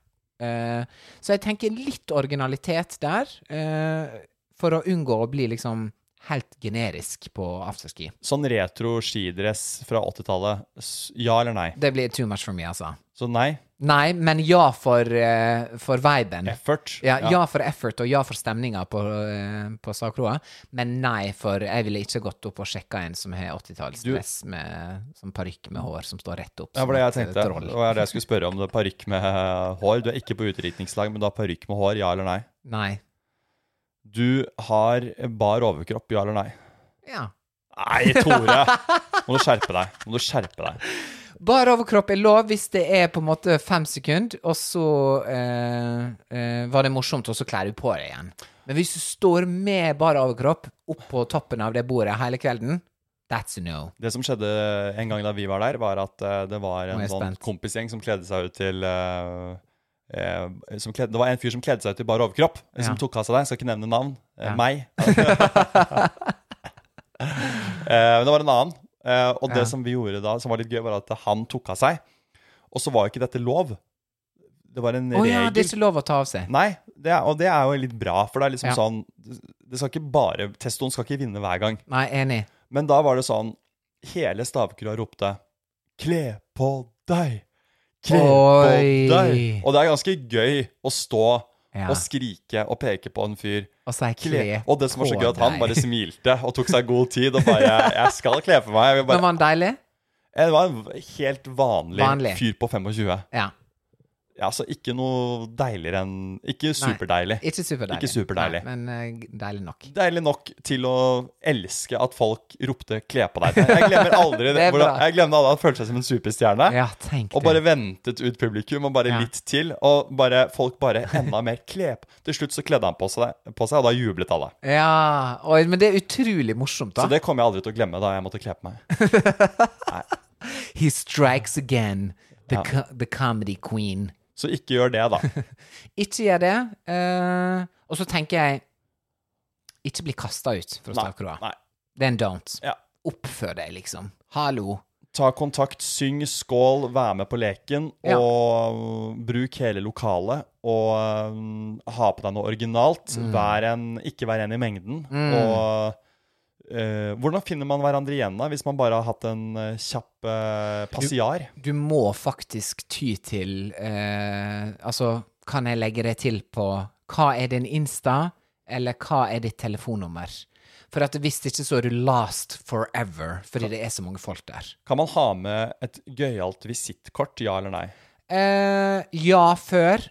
Eh, så jeg tenker litt originalitet der, eh, for å unngå å bli liksom helt generisk på afterski. Sånn retro skidress fra 80-tallet, s- ja eller nei? Det blir too much for meg, altså. Så nei. Nei, men ja for, eh, for viben. Effort. Ja, ja. for effort og ja for stemninga på, eh, på Sagkroa, men nei for Jeg ville ikke gått opp og sjekka en som har 80-tallsdress med sånn parykk med hår som står rett opp. Det var det jeg tenkte. Troll. Det var det jeg skulle spørre om. det er Parykk med eh, hår. Du er ikke på utdrikningslag, men du har parykk med hår, ja eller nei? Nei. Du har bar overkropp, ja eller nei? Ja. Nei, Tore! Må du skjerpe deg. Må du skjerpe deg. Bar overkropp er lov hvis det er på en måte fem sekunder, og så eh, eh, var det morsomt, og så kler du på deg igjen. Men hvis du står med bar overkropp opp på toppen av det bordet hele kvelden, that's a no. Det som skjedde en gang da vi var der, var at eh, det var en jeg er sånn spent. kompisgjeng som kledde seg ut til eh, eh, som kledde, Det var en fyr som kledde seg ut til bar overkropp, eh, som Ja. tok av seg deg. Skal ikke nevne navn. Eh, Ja. Meg. Eh, Men det var en annen. Eh, og Ja. det som vi gjorde da, som var litt gøy, var at han tok av seg. Og så var jo ikke dette lov. Det var en Å ja, det regel. er ikke lov å ta av seg. Nei, det er, og det er jo litt bra, for det er liksom Ja. sånn Det skal ikke bare Testoen skal ikke vinne hver gang. Nei, enig. Men da var det sånn Hele stavkroa ropte 'Kle på deg! Kle Oi. på deg!' Og det er ganske gøy å stå Ja. og skrike og peke på en fyr. Og så er kle Kle. Og det som var så på gøy, at han deg. bare smilte og tok seg god tid og bare 'Jeg skal kle på meg'. Jeg vil Men bare, var han deilig? det var en helt vanlig, Vanlig. fyr på 25. Ja. Ja, altså ikke noe deiligere enn Ikke superdeilig. Ikke superdeilig. Ikke superdeilig. Nei, men eh, deilig nok. Deilig nok til å elske at folk ropte 'kle på deg'. Jeg glemmer aldri Det er hvordan- bra. Jeg glemmer aldri at han følte seg som en superstjerne. Ja, tenk Og bare det. ventet ut publikum, og bare Ja. litt til. Og bare, folk bare enda mer klep. Til slutt så kledde han på seg, på seg og da jublet alle. Ja, oi, men det er utrolig morsomt, da. Så det kommer jeg aldri til å glemme da jeg måtte kle på meg. He strikes again, the, co the comedy queen. Så ikke gjør det, da. Ikke gjør det. eh, og så tenker jeg Ikke bli kasta ut fra stavkroa. Nei. Det er en don't. Ja. Oppfør deg, liksom. Hallo. Ta kontakt, syng, skål, vær med på leken, Ja. og mm, bruk hele lokalet. Og mm, ha på deg noe originalt. Mm. Vær en, ikke vær en i mengden. Og eh, hvordan finner man hverandre igjen da, hvis man bare har hatt en eh, kjapp eh, passiar? Du må faktisk ty til eh, Altså, kan jeg legge det til på Hva er din Insta, eller hva er ditt telefonnummer? For at hvis ikke, så er du last forever, fordi det er så mange folk der. Kan man ha med et gøyalt visittkort, ja eller nei? Eh, ja før,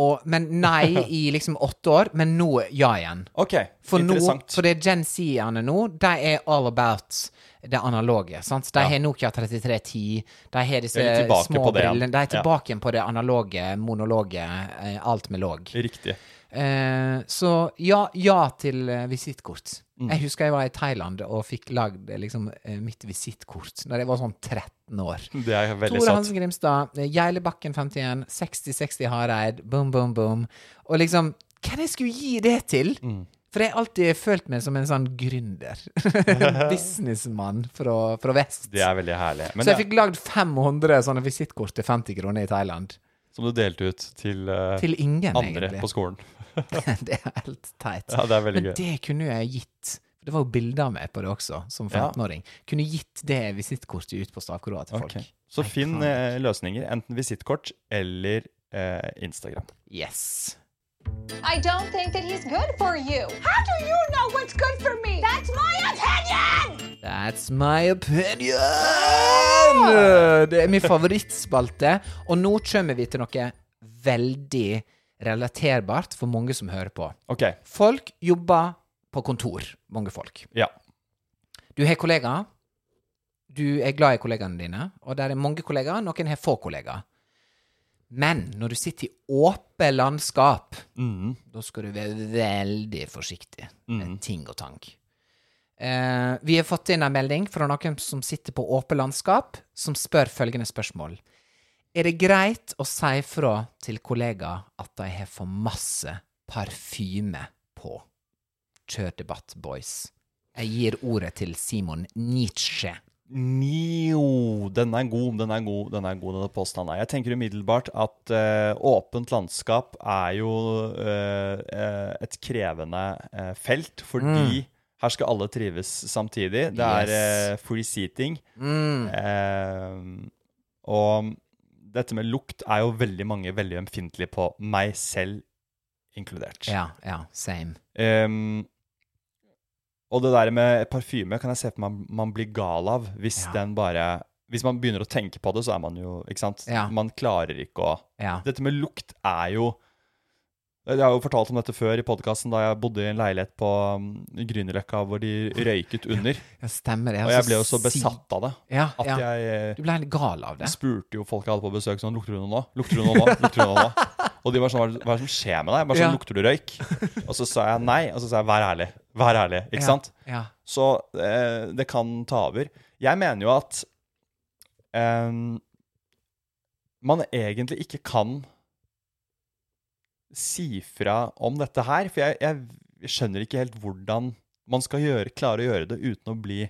og, men nei i liksom åtte år, men nå ja igjen. Ok, For, nå, interessant. for det er Gen Z-ene nå, de er all about det analoge. sant? De Ja. har Nokia 3310, de har disse De er litt tilbake små på det igjen. brillene De er Ja. tilbake igjen på det analoge, monologe, eh, alt med låg. Riktig. Eh, så ja, ja til eh, visittkort. Mm. Jeg husker jeg var i Thailand og fikk lagd eh, liksom, eh, mitt visittkort da jeg var sånn 13 år. Det er veldig Tore søtt. Hansen Grimstad, Geilebakken 51, 60-60 Hareid, boom, boom, boom. Og liksom, hvem jeg skulle gi det til? Mm. For jeg har alltid følt meg som en sånn gründer. En Businessmann fra, fra vest. Det er veldig herlig. Men Så jeg det, fikk lagd 500 sånne visittkort til 50 kroner i Thailand. som du delte ut til, eh, Til ingen, andre på egentlig. skolen. det er helt teit. Ja, det er veldig Men gøy. det kunne jeg gitt. Det var jo bilder av meg på det også, som 15-åring. Kunne gitt det visittkortet ut på Stavkroa til folk. Ok. Så Nei, finn faen. eh, løsninger, enten visittkort eller eh, Instagram. Yes. I don't think that he's good for you. How do you know what's good for me? That's my opinion! That's my opinion! Det er min favorittspalte. Og nå kommer vi til noe veldig relaterbart for mange som hører på. Ok, Folk jobber på kontor, mange folk. ja. Du har kollegaer. Du er glad i kollegaene dine, og der er mange kollegaer. Noen har få kollegaer. Men når du sitter i åpent landskap, Mm. da skal du være veldig forsiktig med Mhm. ting og tang. Eh, vi har fått inn en melding fra noen som sitter på åpent landskap, som spør følgende spørsmål. Er det greit å si fra til kollegaer at de har for masse parfyme på? Kjør debatt, boys. Jeg gir ordet til Simon Nietzsche. Nio, den er god, den er god, den er god, denne påstanden. Jeg tenker umiddelbart at eh, åpent landskap er jo eh, eh, et krevende eh, felt, fordi her skal alle trives samtidig. Det er Mm. Yes. eh, free seating. Mm. Eh, og dette med lukt er jo veldig mange veldig ømfintlige på, meg selv inkludert. Ja, ja, same. Ehm, og det der med parfyme kan jeg se for meg man blir gal av hvis Ja. den bare Hvis man begynner å tenke på det, så er man jo Ikke sant? Ja. Man klarer ikke å Ja. Dette med lukt er jo jeg har jo fortalt om dette før i podkasten, da jeg bodde i en leilighet på um, Grünerløkka hvor de røyket under. ja stemmer det. Og jeg ble jo så si- besatt av det Ja, at ja. jeg eh, Du ble helt gal av det. spurte jo folk jeg hadde på besøk sånn Lukter du noe nå? Lukter du noe nå? Lukter du noe nå? Og de var sånn Hva hva er det som skjer med deg? Bare sånn, Ja. Lukter du røyk? Og så sa jeg nei, og så sa jeg vær ærlig. Vær ærlig. Ikke Ja, sant? Ja. Så eh, det kan ta over. Jeg mener jo at eh, man egentlig ikke kan si fra om dette her, for jeg, jeg skjønner ikke helt hvordan man skal gjøre, klare å gjøre det uten å bli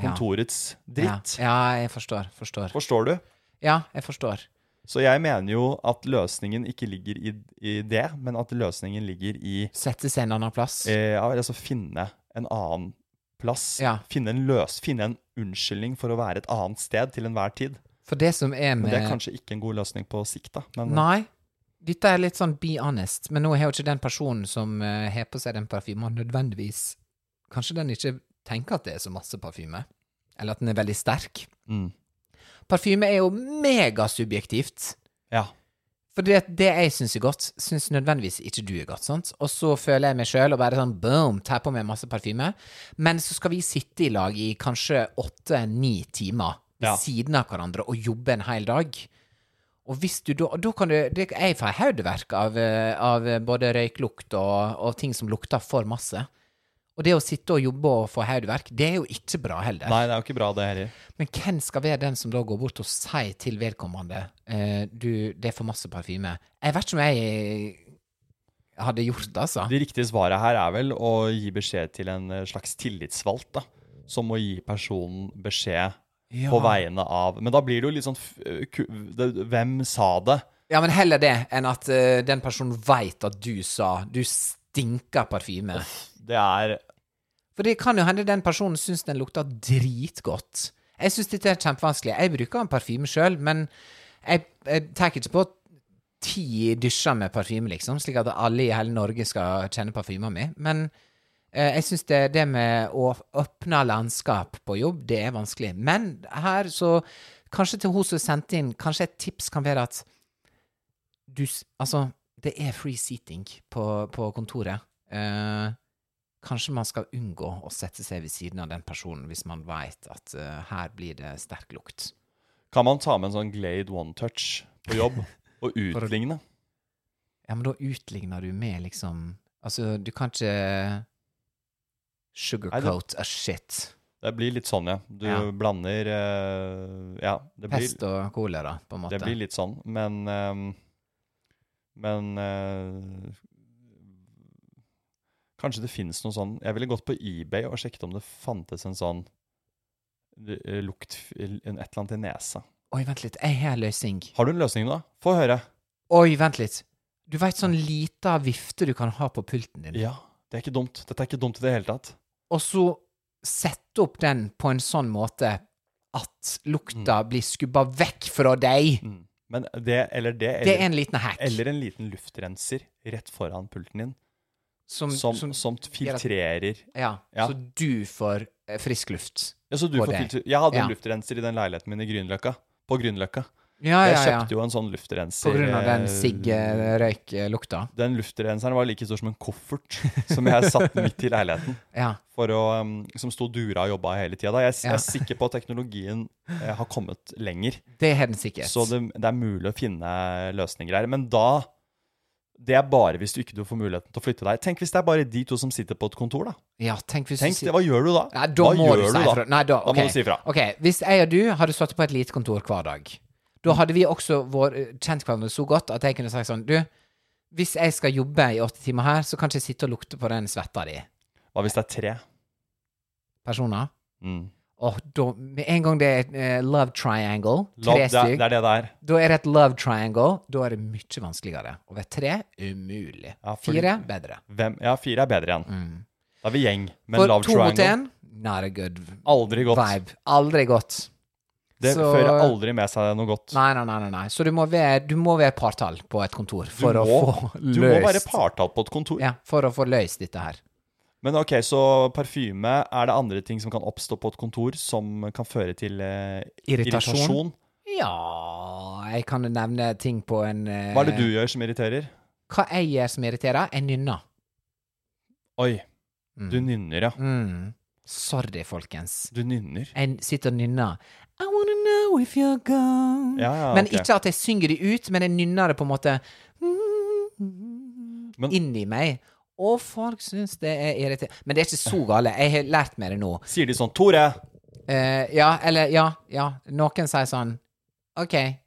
kontorets dritt. Ja, ja jeg forstår. Forstår. Forstår du? Ja, jeg forstår. Så jeg mener jo at løsningen ikke ligger i, i det, men at løsningen ligger i Sette seg en annen plass. eh, ja, altså finne en annen plass. Ja. Finne en løs, finne en unnskyldning for å være et annet sted til enhver tid. For det som er Men med det er kanskje ikke en god løsning på sikt, da. Men Nei. Dette er litt sånn be honest, men nå har jo ikke den personen som eh, har på seg den parfymen, nødvendigvis Kanskje den ikke tenker at det er så masse parfyme, eller at den er veldig sterk. Mm. Parfyme er jo megasubjektivt. ja. For det, det jeg syns er godt, syns nødvendigvis ikke du er godt. sant? Og så føler jeg meg sjøl og bare sånn boom, tar på meg masse parfyme. Men så skal vi sitte i lag i kanskje åtte-ni timer ved Ja. siden av hverandre og jobbe en hel dag. Og hvis du da og Da kan du det, Jeg får hodeverk av, eh, av både røyklukt og, og ting som lukter for masse. Og det å sitte og jobbe og få hodeverk, det er jo ikke bra heller. Nei, det er jo ikke bra, det heller. Men hvem skal være den som da går bort og sier til vedkommende eh, du, det er for masse parfyme? Jeg vet ikke om jeg hadde gjort det, altså. Det riktige svaret her er vel å gi beskjed til en eh, slags tillitsvalgt, da. Som må gi personen beskjed Ja. på vegne av Men da blir det jo litt sånn f- ku- det- Hvem sa det? Ja, men heller det enn at eh, den personen veit at du sa du stinker parfyme. Det er For det kan jo hende den personen syns den lukter dritgodt. Jeg syns dette er kjempevanskelig. Jeg bruker en parfyme sjøl, men jeg, jeg tar ikke på ti dusjer med parfyme, liksom, slik at alle i hele Norge skal kjenne parfymen min. Men eh, jeg syns det, det med å åpne landskap på jobb, det er vanskelig. Men her, så Kanskje til hun som sendte inn, kanskje et tips kan være at du s- Altså, det er free seating på, på kontoret. Eh, Kanskje man skal unngå å sette seg ved siden av den personen hvis man veit at eh, her blir det sterk lukt. Kan man ta med en sånn Glade One Touch på jobb og utligne? Ja, men da utligner du med liksom Altså, du kan ikke sugarcoat a shit. Det blir litt sånn, ja. Du Ja. blander eh, Ja, det blir, Pest og kolera, på en måte. det blir litt sånn, men eh, Men eh, Kanskje det finnes noe sånn Jeg ville gått på eBay og sjekket om det fantes en sånn eh, lukt en- Et eller annet i nesa. Oi, vent litt. Jeg har en løsning. Har du en løsning nå? Få høre. Oi, vent litt. Du veit sånn lita vifte du kan ha på pulten din, Ja, det er ikke dumt. Dette er ikke dumt i det hele tatt. og så sette opp den på en sånn måte at lukta Mm. blir skubba vekk fra deg. Men det eller det Mm. Det eller, er en liten hack. eller en liten luftrenser rett foran pulten din. som, som, som- som, filtrerer Ja, Ja. så du får eh, frisk luft. ja, så du på får det. filtre... Jeg hadde en Ja. luftrenser i den leiligheten min i Grünerløkka. På Grünerløkka. Ah, Ja, Jeg ja, ja. kjøpte jo en sånn luftrenser På grunn av den eh, sigg-røyk-lukta. Den luftrenseren var like stor som en koffert som jeg satt midt i leiligheten. Ja. For å, um, som sto dura og jobba hele tida. Jeg, jeg Ja. er sikker på at teknologien eh, har kommet lenger. Det har den sikkert. Så det, det er mulig å finne løsninger her. Men da Det er bare hvis du ikke du får muligheten til å flytte deg. Tenk hvis det er bare de to som sitter på et kontor, da. Ja, tenk hvis Tenk, du sier det, Hva gjør du da? Nei, da hva må gjør du si da? ifra. Nei, da, Da må ok. du si ifra. Ok, Hvis jeg og du hadde sittet på et lite kontor hver dag, Mm. Da hadde vi også vår, kjent hverandre så godt at jeg kunne sagt sånn Du, hvis jeg skal jobbe i åtte timer her, så kan ikke jeg sitte og lukte på den svetta di. Hva hvis det er tre? Personer. Mm. Åh, da, med en gang det er et eh, love triangle, Love, tre det, er, stykk, det er det det er. da er det et love triangle. Da er det mye vanskeligere. Og ved tre umulig. Ja, fordi- Fire bedre. Hvem? Ja, fire er bedre igjen. Mm. Da er vi gjeng. Men For love to mot triangle én, not a good Aldri godt. vibe. Aldri godt. Det Så- fører aldri med seg noe godt. Nei, nei, nei, nei, nei. Så du må være, du må være partall på et kontor Du for å må, få løst du må være partall på et kontor. Ja, for å få løst dette her. Men ok, så parfyme Er det andre ting som kan oppstå på et kontor som kan føre til eh, Irritasjon. irritasjon? Ja Jeg kan jo nevne ting på en eh, Hva er det du gjør som irriterer? Hva jeg gjør som irriterer? Jeg nynner. Oi, Mm. du nynner, ja. mm. Sorry, folkens. Du nynner. Jeg sitter og nynner I wanna know if you're gone Ja, ja, Men ok. ikke at jeg synger det ut, men jeg nynner det på en måte Men- inni meg. Og folk syns det er irriterende. Men det er ikke så gale. Jeg har lært meg det nå. Sier de sånn 'Tore, Eh, ja, eller ja, ja. Noen sier sånn OK,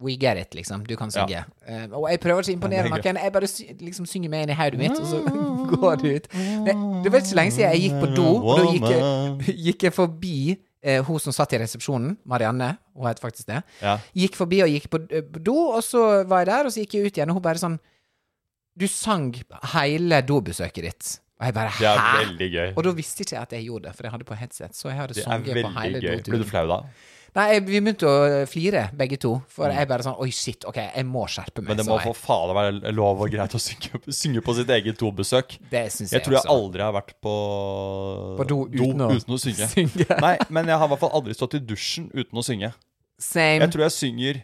we get it, liksom. Du kan synge. Eh, og jeg prøver ikke å imponere Ja, det noen. Jeg bare sy liksom synger meg inn i hodet mitt, og så går det ut. Det, det var ikke så lenge siden jeg gikk på do. Da gikk jeg, gikk jeg forbi eh, hun som satt i resepsjonen, Marianne, hun het faktisk det. Ja. Gikk forbi og gikk på eh, på do, og så var jeg der, og så gikk jeg ut igjen, og hun bare sånn Du sang hele dobesøket ditt. Og jeg bare Det Hæ? er veldig gøy. Og da visste ikke jeg at jeg gjorde det, for jeg hadde på headset. Så jeg hadde Det er sunget på hele veldig gøy. doturen. Ble du flau da? Nei, jeg, vi begynte å eh, flire, begge to. For jeg bare sånn Oi, shit, OK, jeg må skjerpe meg. Mm. Men det sa må jeg. for fader være lov og greit å synge, synge på sitt eget dobesøk. Det syns jeg, Jeg tror jeg også. aldri har vært på, På do uten å- synge. Synge. Nei, men jeg har i hvert fall aldri stått i dusjen uten å synge. Same. Jeg tror jeg synger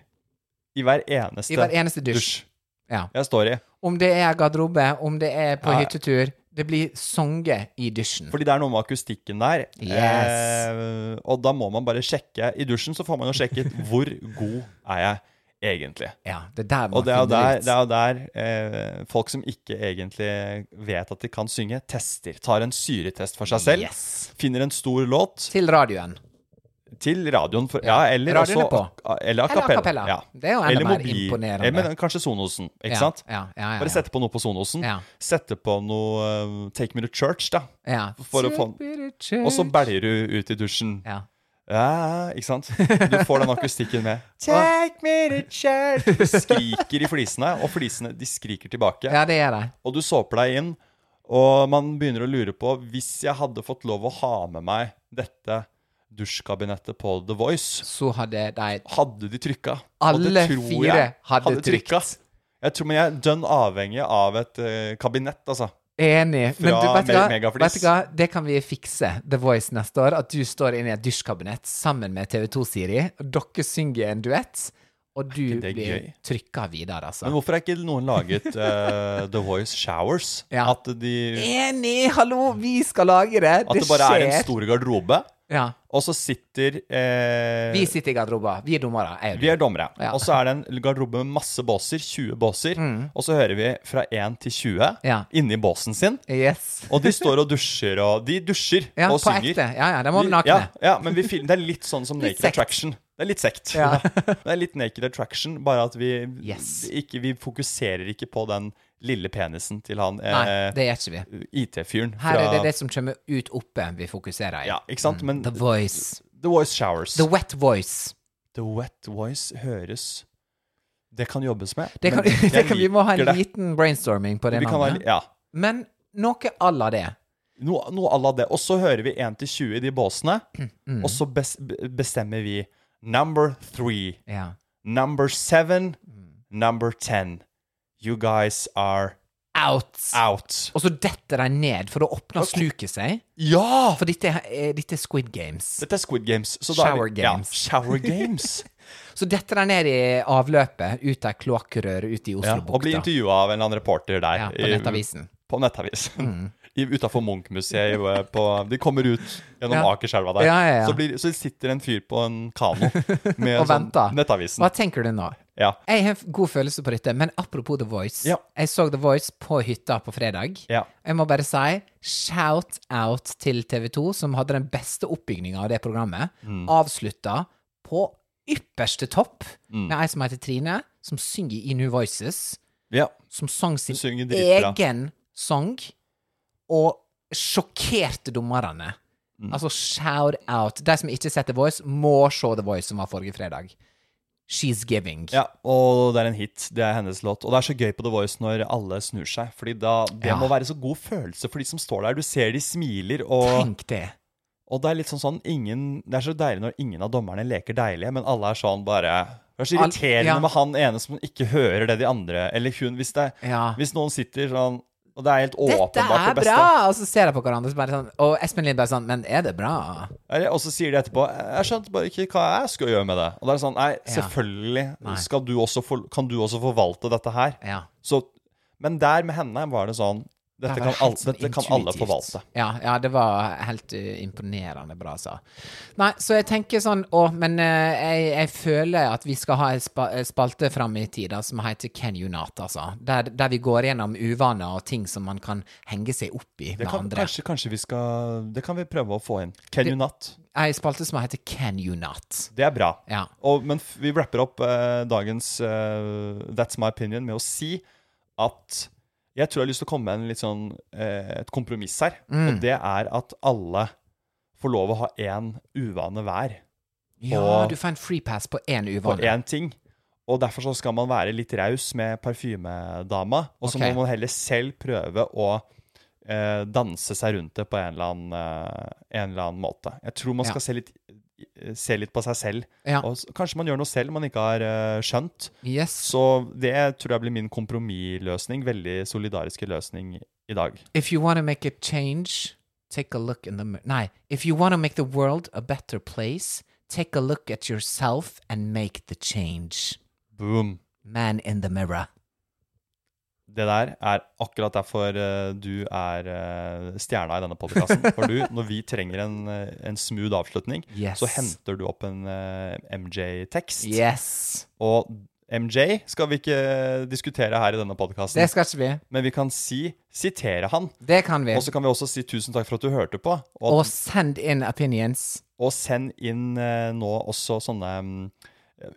i hver eneste, I hver eneste dusj. dusj Ja. jeg står i. Om det er garderobe, om det er på Ja. hyttetur Det blir sunget i dusjen. Fordi det er noe med akustikken der. Yes. Eh, og da må man bare sjekke. I dusjen så får man jo sjekket hvor god er jeg egentlig. Ja, det er der man Og det er jo finner der, ut. det er jo der eh, folk som ikke egentlig vet at de kan synge, tester. Tar en syretest for seg selv. Yes. Finner en stor låt Til radioen. til radioen. For, ja, eller Radioen er også Eller a Eller a cappella. cappella. Ja. Det er jo enda Eller mer mobil. imponerende. Eh, Men kanskje Sonosen, ikke Ja, sant? Ja, ja, ja, Bare ja. sette på noe på Sonosen. Ja. Sette på noe eh, Take Me To Church, da. ja. for å få- Og så bæljer du ut i dusjen. Mm. ja. Ja, ikke sant? Du får den akustikken med. Take me to church. Skriker i flisene, og flisene de skriker tilbake. Ja, det er det. Og du såper deg inn, og man begynner å lure på Hvis jeg hadde fått lov å ha med meg dette dusjkabinettet på The Voice, Så hadde de hadde de trykka? Alle fire hadde trykt. Jeg tror, men jeg er dønn avhengig av et eh, kabinett, altså. Enig. Men Fra du, vet, du Me- hva? Megaflis. vet du hva? Det kan vi fikse, The Voice, neste år. At du står inne i et dusjkabinett sammen med TV2-Siri, og dere synger en duett, og du det blir gøy? trykka videre, Men altså. hvorfor har ikke noen laget eh, The Voice Showers? Ja. At, de, Enig! Hallo, vi skal lage det! at det det bare skjer. er en stor garderobe, Ja. og så sitter eh, Vi sitter i garderoben. Vi er dommere. Jeg Vi er er dommere. Ja. Mm. Og så er det en garderobe med masse båser, 20 båser. Og så hører vi fra 1 til 20 Ja. inni båsen sin. du. Yes. Og de står og dusjer og De dusjer Ja, og på synger. ekte. Ja, ja. De må Vi- være nakne. ja, ja, men vi film, det er litt sånn som Litt Naked sekt. Attraction. Det er litt sekt. Ja. det er litt Naked Attraction, bare at vi, Yes. ikke, vi fokuserer ikke på den lille penisen til han Nei, eh, det gjør ikke vi. IT-fyren fra Her er det det som kommer ut oppe, vi fokuserer i. Ja, ikke sant? Men The Voice. The Voice Showers. The Wet Voice. The Wet Voice høres Det kan jobbes med. Det kan, men jeg det kan, vi må ha en liker det. liten brainstorming på det Vi kan være, navnet. ja. Men noe à la det. Noe noe à la det. Og så hører vi 1 til 20 i de båsene, Mm. og så bes, be- bestemmer vi number three, Ja. number seven, number ten. You guys are Out! out. Og så detter de ned, for da åpner sluket seg. Ja! For dette er, eh, dette er Squid Games. Dette er Squid Games. så da er vi- Shower games. Ja, shower Games. Så detter de ned i avløpet, ut av kloakkrøret ja, ute i og blir Oslobukta. intervjua av en eller annen reporter der. Ja, på i- Nettavisen. På Nettavisen. Mm. Utafor Munch-museet. i- eh, på- De kommer ut gjennom Ja. Akerselva der. Ja, ja, ja. Så, blir, så sitter en fyr på en kano med Og sånn venter. Nettavisen. Hva tenker du nå? Ja. Jeg har en god følelse på dette, men apropos The Voice. Ja. Jeg så The Voice på hytta på fredag. Ja. Jeg må bare si shout out Mm. til TV 2, som hadde den beste oppbygninga av det programmet. Avslutta på ypperste topp Mm. med ei som heter Trine, som synger i New Voices, Ja, som sang hun sin synger dritbra. egen sang, og sjokkerte dommerne. Mm. Altså, shout out. De som ikke har sett The Voice, må se The Voice, som var forrige fredag. She's giving. Ja, og det er en hit. Det er hennes låt. Og det er så gøy på The Voice når alle snur seg. Fordi da, Det Ja. må være så god følelse for de som står der. Du ser de smiler, og, Tenk det. og det er litt sånn sånn ingen, Det er så deilig når ingen av dommerne leker deilige, men alle er sånn bare Det er så Al- irriterende ja. med han ene som ikke hører det de andre Eller hun, hvis, det, Ja. hvis noen sitter sånn Og det er helt Dette åpenbart er det beste. bra! Og så ser de på hverandre, så bare sånn, og Espen Lind bare sånn Men er det bra? Eller- Og så sier de etterpå Jeg skjønte bare ikke hva jeg skulle gjøre med det. Og det er sånn Nei, Ja. selvfølgelig Nei. Skal du også for, kan du også forvalte dette her. Ja. Så, men der med henne var det sånn Dette, Det var kan, helt alle, sånn dette kan alle intuitivt. forvalte. Ja, ja, det var helt eh, imponerende bra, sa. Nei, så jeg tenker sånn Å, men eh, jeg, jeg føler at vi skal ha en spa, eh, spalte fram i tida som heter Can you not, altså. Der, der vi går gjennom uvaner og ting som man kan henge seg opp i Det med kan, andre. kanskje, kanskje vi skal Det kan vi prøve å få inn. Can you not? Ei spalte som heter Can you not. Det er bra. Ja. Og, men f- vi wrapper opp eh, dagens eh, That's my opinion med å si at jeg tror jeg har lyst til å komme med en litt sånn, eh, et kompromiss her. Mm. Og det er at alle får lov å ha én uvane hver Ja, Og- du får en freepass på én på uvane. én ting. Og derfor så skal man være litt raus med parfymedama, og så Ok. må man heller selv prøve å eh, danse seg rundt det på en eller, annen, eh, en eller annen måte. Jeg tror man Ja. skal se, litt, se litt på seg selv. Ja. Og s- kanskje man gjør noe selv man ikke har eh, skjønt. Yes. Så det tror jeg blir min kompromissløsning, veldig solidariske løsning i dag. If you want to make a change, take a look in the mirror. Nei, if you want to make the world a better place, take a look at yourself and make the change. Boom. Man in the mirror. Det der er akkurat derfor eh, du er eh, stjerna i denne podkasten. For du, når vi trenger en, eh, en smooth avslutning, Yes. så henter du opp en eh, MJ-tekst. Yes. Og MJ skal vi ikke eh, diskutere her i denne podkasten, Det skal ikke vi. men vi kan si sitere han. Det kan vi. Og så kan vi også si tusen takk for at du hørte på. Og, Og send in opinions. og send inn eh, nå også sånne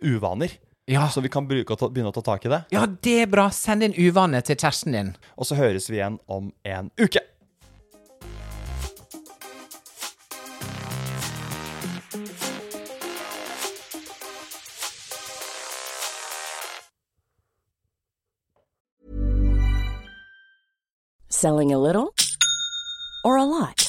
mm, uvaner, Ja. så vi kan bruke å ta, begynne å ta tak i det. ja, det er bra. Send inn uvane til kjæresten din. Og så høres vi igjen om en uke. Selling a little or a lot?